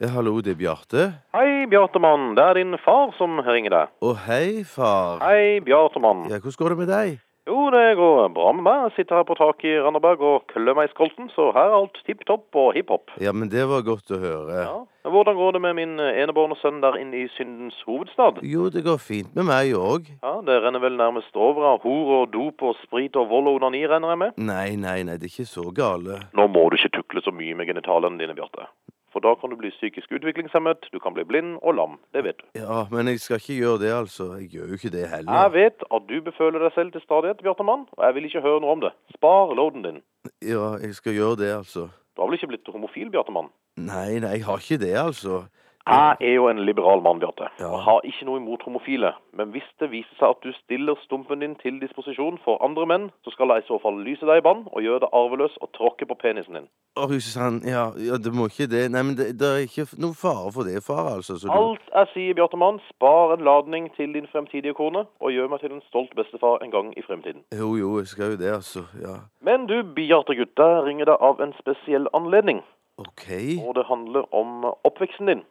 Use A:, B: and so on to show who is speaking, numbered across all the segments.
A: Ja, hallo, det er Bjarte.
B: Hei, Bjartemann. Det er din far som ringer deg.
A: Å, hei, far.
B: Hei, Bjartemann.
A: Ja, hvordan går det med deg?
B: Jo, det går bra med meg. Jeg sitter her på taket i Randaberg og klør meg i skolten, så her er alt tipp topp og hiphop.
A: Ja, men det var godt å høre.
B: Ja. Hvordan går det med min enebårne sønn der inne i syndens hovedstad?
A: Jo, det går fint med meg òg.
B: Ja, Det renner vel nærmest over av hor og dop og sprit og vold og onani, regner jeg med?
A: Nei, nei, nei, det er ikke så gale.
B: Nå må du ikke tukle så mye med genitalene dine, Bjarte. For da kan du bli psykisk utviklingshemmet, du kan bli blind og lam. Det vet du.
A: Ja, men jeg skal ikke gjøre det, altså. Jeg gjør jo ikke det
B: Jeg
A: heller.
B: vet at du beføler deg selv til stadighet, Bjartemann, og jeg vil ikke høre noe om det. Spar loaden din.
A: Ja, jeg skal gjøre det, altså.
B: Du har vel ikke blitt homofil, Bjartemann?
A: Nei, nei, jeg har ikke det, altså.
B: Jeg er jo en liberal mann, Bjarte,
A: Ja.
B: og har ikke noe imot homofile. Men hvis det viser seg at du stiller stumpen din til disposisjon for andre menn, så skal jeg i så fall lyse deg i bann og gjøre deg arveløs og tråkke på penisen din.
A: Å, Susann, ja, ja, det må ikke det. Nei, men det, det er ikke noen fare for det, far, altså. Så du...
B: Alt jeg sier, Bjartemann, spar en ladning til din fremtidige kone, og gjør meg til en stolt bestefar en gang i fremtiden.
A: Jo, jo, jeg skal jo det, altså. Ja.
B: Men du, Bjarte-gutt, jeg ringer deg av en spesiell anledning,
A: OK.
B: og det handler om oppveksten din.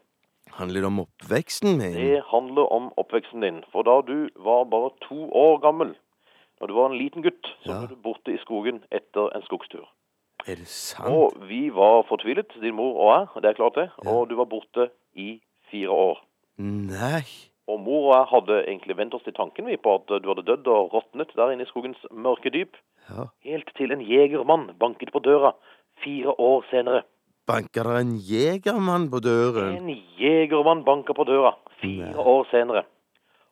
A: Handler det om oppveksten min?
B: Det handler om oppveksten din. For da du var bare to år gammel, når du var en liten gutt, så
A: Ja.
B: ble du borte i skogen etter en skogstur.
A: Er det sant?
B: Og vi var fortvilet, din mor og jeg, det er klart det.
A: Ja.
B: Og du var borte i fire år.
A: Nei.
B: Og mor og jeg hadde egentlig vent oss til tanken vi på at du hadde dødd og råtnet der inne i skogens mørke dyp.
A: Ja.
B: Helt til en jegermann banket på døra fire år senere.
A: Banker det en jegermann på døren?
B: En jegermann banka på døra fire år senere.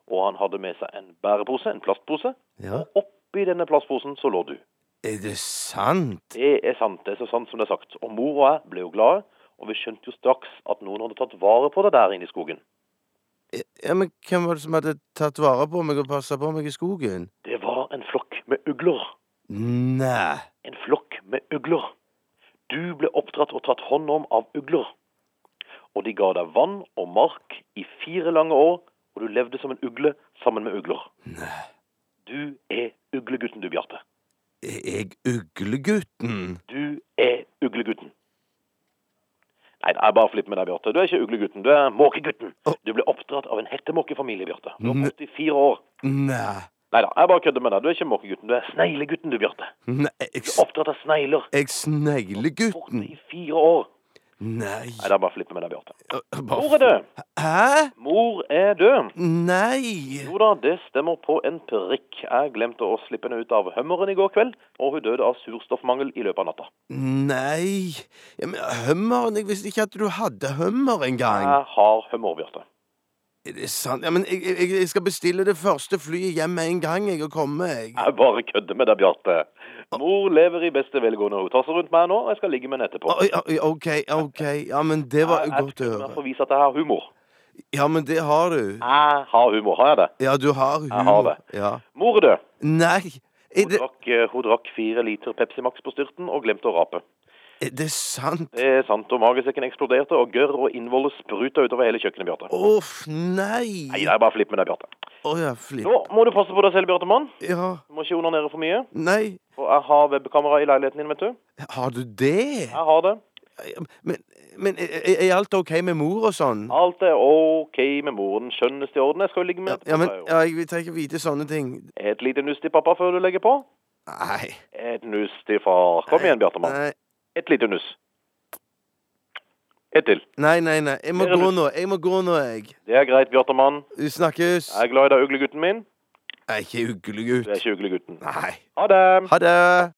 B: Og han hadde med seg en bærepose, en plastpose.
A: Ja.
B: Og oppi denne plastposen så lå du.
A: Er det sant?
B: Det er sant, det er så sant som det er sagt. Og mor og jeg ble jo glade, og vi skjønte jo straks at noen hadde tatt vare på deg der inne i skogen.
A: E, Ja, men hvem var det som hadde tatt vare på meg og passa på meg i skogen?
B: Det var en flokk med ugler.
A: Nei.
B: En flokk med ugler. Du ble oppdratt og tatt hånd om av ugler. Og de ga deg vann og mark i fire lange år, og du levde som en ugle sammen med ugler.
A: Nei.
B: Du er uglegutten, du, Bjarte.
A: Er e, jeg uglegutten?
B: Du er uglegutten. Nei, det er bare flipp med deg, Bjarte. Du er ikke uglegutten, du er måkegutten.
A: Å.
B: Du ble oppdratt av en hettemåkefamilie, Bjarte. Du er
A: Ne-
B: 84 år.
A: Nei.
B: Nei da, jeg bare kødder med deg. Du er ikke måkegutten, du er sneglegutten, du, Bjarte.
A: Nei, jeg,
B: Du
A: s-
B: er oppdratt av snegler.
A: jeg
B: Borte
A: sneglegutten?
B: i fire år.
A: Nei.
B: Nei, det er bare flipp med deg, Bjarte. Mor
A: Hvor
B: er død.
A: Hæ?
B: Mor er død.
A: Nei.
B: Jo da, det stemmer på en prikk. Jeg glemte å slippe henne ut av hummeren i går kveld, og hun døde av surstoffmangel i løpet av natta.
A: Nei. Ja, men hummeren Jeg visste ikke at du hadde hummer engang.
B: Jeg har hummer, Bjarte.
A: Er det sant? Ja, men jeg, jeg, jeg skal bestille det første flyet hjem med en gang jeg og komme. Jeg.
B: Jeg bare kødder med deg, Bjarte. Mor lever i beste velgående. Hun tasser rundt meg nå, og jeg skal ligge med henne etterpå.
A: Oi, oi, OK, OK. Ja, men det var
B: Jeg-
A: godt å
B: Jeg skal
A: høre.
B: få vise at jeg har humor.
A: Ja, men det har du.
B: Jeg har humor, har jeg det?
A: Ja, du har humor.
B: Jeg har det.
A: Ja.
B: Mor er død.
A: Nei, er
B: Hun
A: det,
B: drakk, eh, hun drakk fire liter Pepsi Max på styrten og glemte å rape.
A: er det sant?
B: Det er sant, og magesekken eksploderte, og gørr og innvoller spruta utover hele kjøkkenet, Bjarte.
A: Uff, nei.
B: Nei, det er bare flipp med deg, Bjarte.
A: Å ja, flipp.
B: Nå må du passe på deg selv, Bjarte Mann.
A: Ja,
B: Du må ikke onanere for mye.
A: nei.
B: For jeg har webkamera i leiligheten din, vet du.
A: Har du det?
B: Jeg har det.
A: Men, men er, er alt OK med mor og sånn?
B: Alt er OK med moren. Skjønnes i orden. Jeg skal jo ligge med
A: Ja, men
B: etterpå, jeg jo.
A: ja, jeg vil ikke vite sånne ting.
B: Et lite nuss til pappa før du legger på.
A: Nei.
B: Et nuss til far. Kom igjen, Bjartemann.
A: Nei,
B: Et lite nuss. Et til.
A: nei, nei. nei. Jeg må
B: Mer
A: gå
B: lyst.
A: nå. Jeg må gå nå, jeg.
B: Det er greit, Bjartemann.
A: Vi snakkes.
B: Jeg er glad i deg, uglegutten min.
A: Jeg er ikke uglegutt.
B: Du er ikke uglegutten.
A: Nei.
B: Ha det.
A: Ha det.